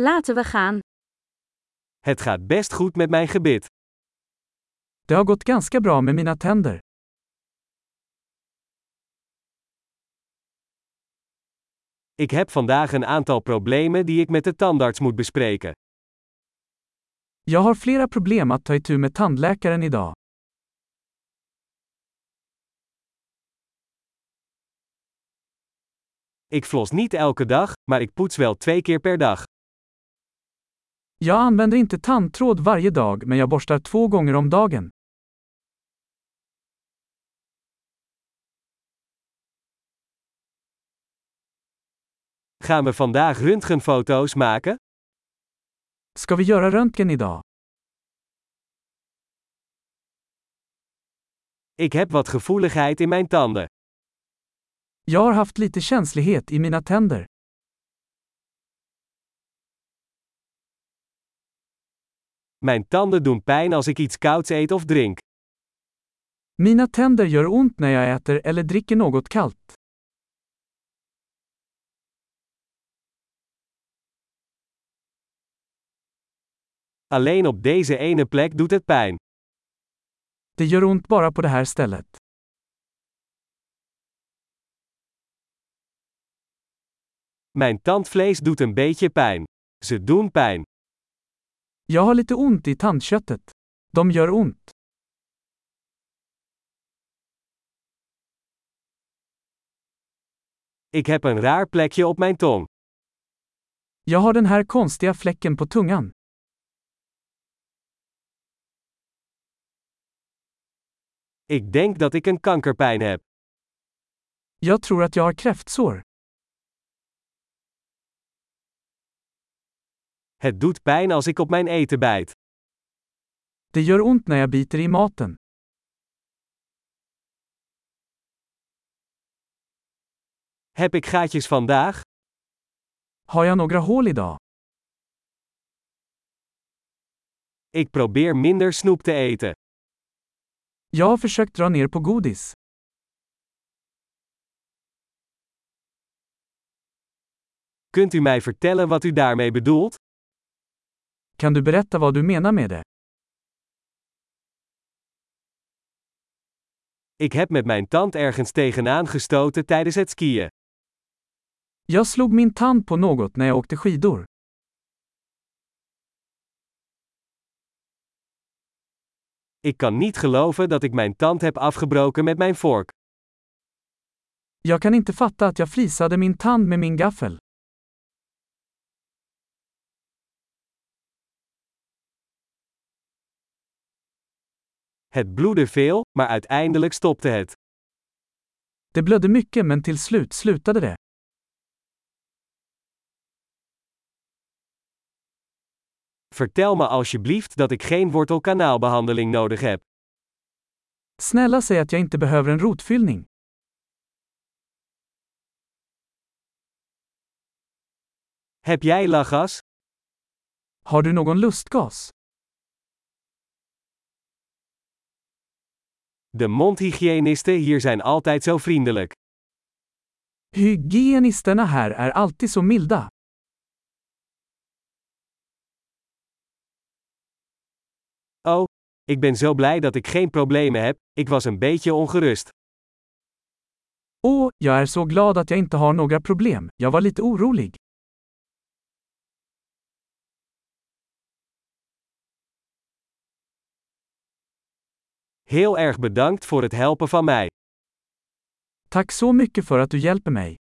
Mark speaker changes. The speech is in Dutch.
Speaker 1: Laten we gaan.
Speaker 2: Het gaat best goed met mijn gebit.
Speaker 3: Det har gått ganska bra med mina tänder.
Speaker 2: Ik heb vandaag een aantal problemen die ik met de tandarts moet bespreken.
Speaker 3: Jag har flera problem att ta itu med tandläkaren idag.
Speaker 2: Ik flos niet elke dag, maar ik poets wel twee keer per dag.
Speaker 3: Jag använder inte tandtråd varje dag men jag borstar två gånger om dagen.
Speaker 2: Gaan we vandaag röntgenfoto's maken?
Speaker 3: Ska vi göra röntgen idag?
Speaker 2: Ik heb wat gevoeligheid in mijn tanden.
Speaker 3: Jag har haft lite känslighet i mina tänder.
Speaker 2: Mijn tanden doen pijn als ik iets kouds eet of drink.
Speaker 3: Mina tänder gör ont när jag äter eller dricker något kallt.
Speaker 2: Alleen op deze ene plek doet het pijn.
Speaker 3: Det gör ont bara på det här stället.
Speaker 2: Mijn tandvlees doet een beetje pijn. Ze doen pijn.
Speaker 3: Jag har lite ont i tandköttet. De gör ont.
Speaker 2: Ik heb een raar plekje op mijn tong.
Speaker 3: Jag har den här konstiga fläcken på tungan.
Speaker 2: Ik denk dat ik een kankerpijn heb.
Speaker 3: Jag tror att jag har kräftsår.
Speaker 2: Het doet pijn als ik op mijn eten bijt.
Speaker 3: Det gör ont när jag biter i maten.
Speaker 2: Heb ik gaatjes vandaag?
Speaker 3: Har jag några hål idag?
Speaker 2: Ik probeer minder snoep te eten.
Speaker 3: Jag har försökt dra ner på godis.
Speaker 2: Kunt u mij vertellen wat u daarmee bedoelt?
Speaker 3: Kan du berätta vad du menar med det?
Speaker 2: Ik heb met mijn tand ergens tegenaan gestoten tijdens het skiën.
Speaker 3: Jag slog min tand på något när jag åkte skidor.
Speaker 2: Ik kan niet geloven dat ik mijn tand heb afgebroken met mijn vork.
Speaker 3: Jag kan inte fatta att jag flisade min tand med min gaffel.
Speaker 2: Het bloedde veel, maar uiteindelijk stopte het.
Speaker 3: Det blödde mycket men till slut slutade det.
Speaker 2: Vertel me alsjeblieft dat ik geen wortelkanaalbehandeling nodig heb.
Speaker 3: Snälla säg att jag inte behöver en rotfyllning.
Speaker 2: Heb jij lachgas?
Speaker 3: Har du någon lustgas?
Speaker 2: De mondhygiënisten hier zijn altijd zo vriendelijk.
Speaker 3: Hygienisterna här är alltid så milda.
Speaker 2: Oh, Ik ben zo blij dat ik geen problemen heb, ik was een beetje ongerust.
Speaker 3: Åh, jag är så glad att jag inte har några problem. Jag var lite orolig.
Speaker 2: Heel erg bedankt voor het helpen van mij.
Speaker 3: Tack så mycket för att du hjälper mig.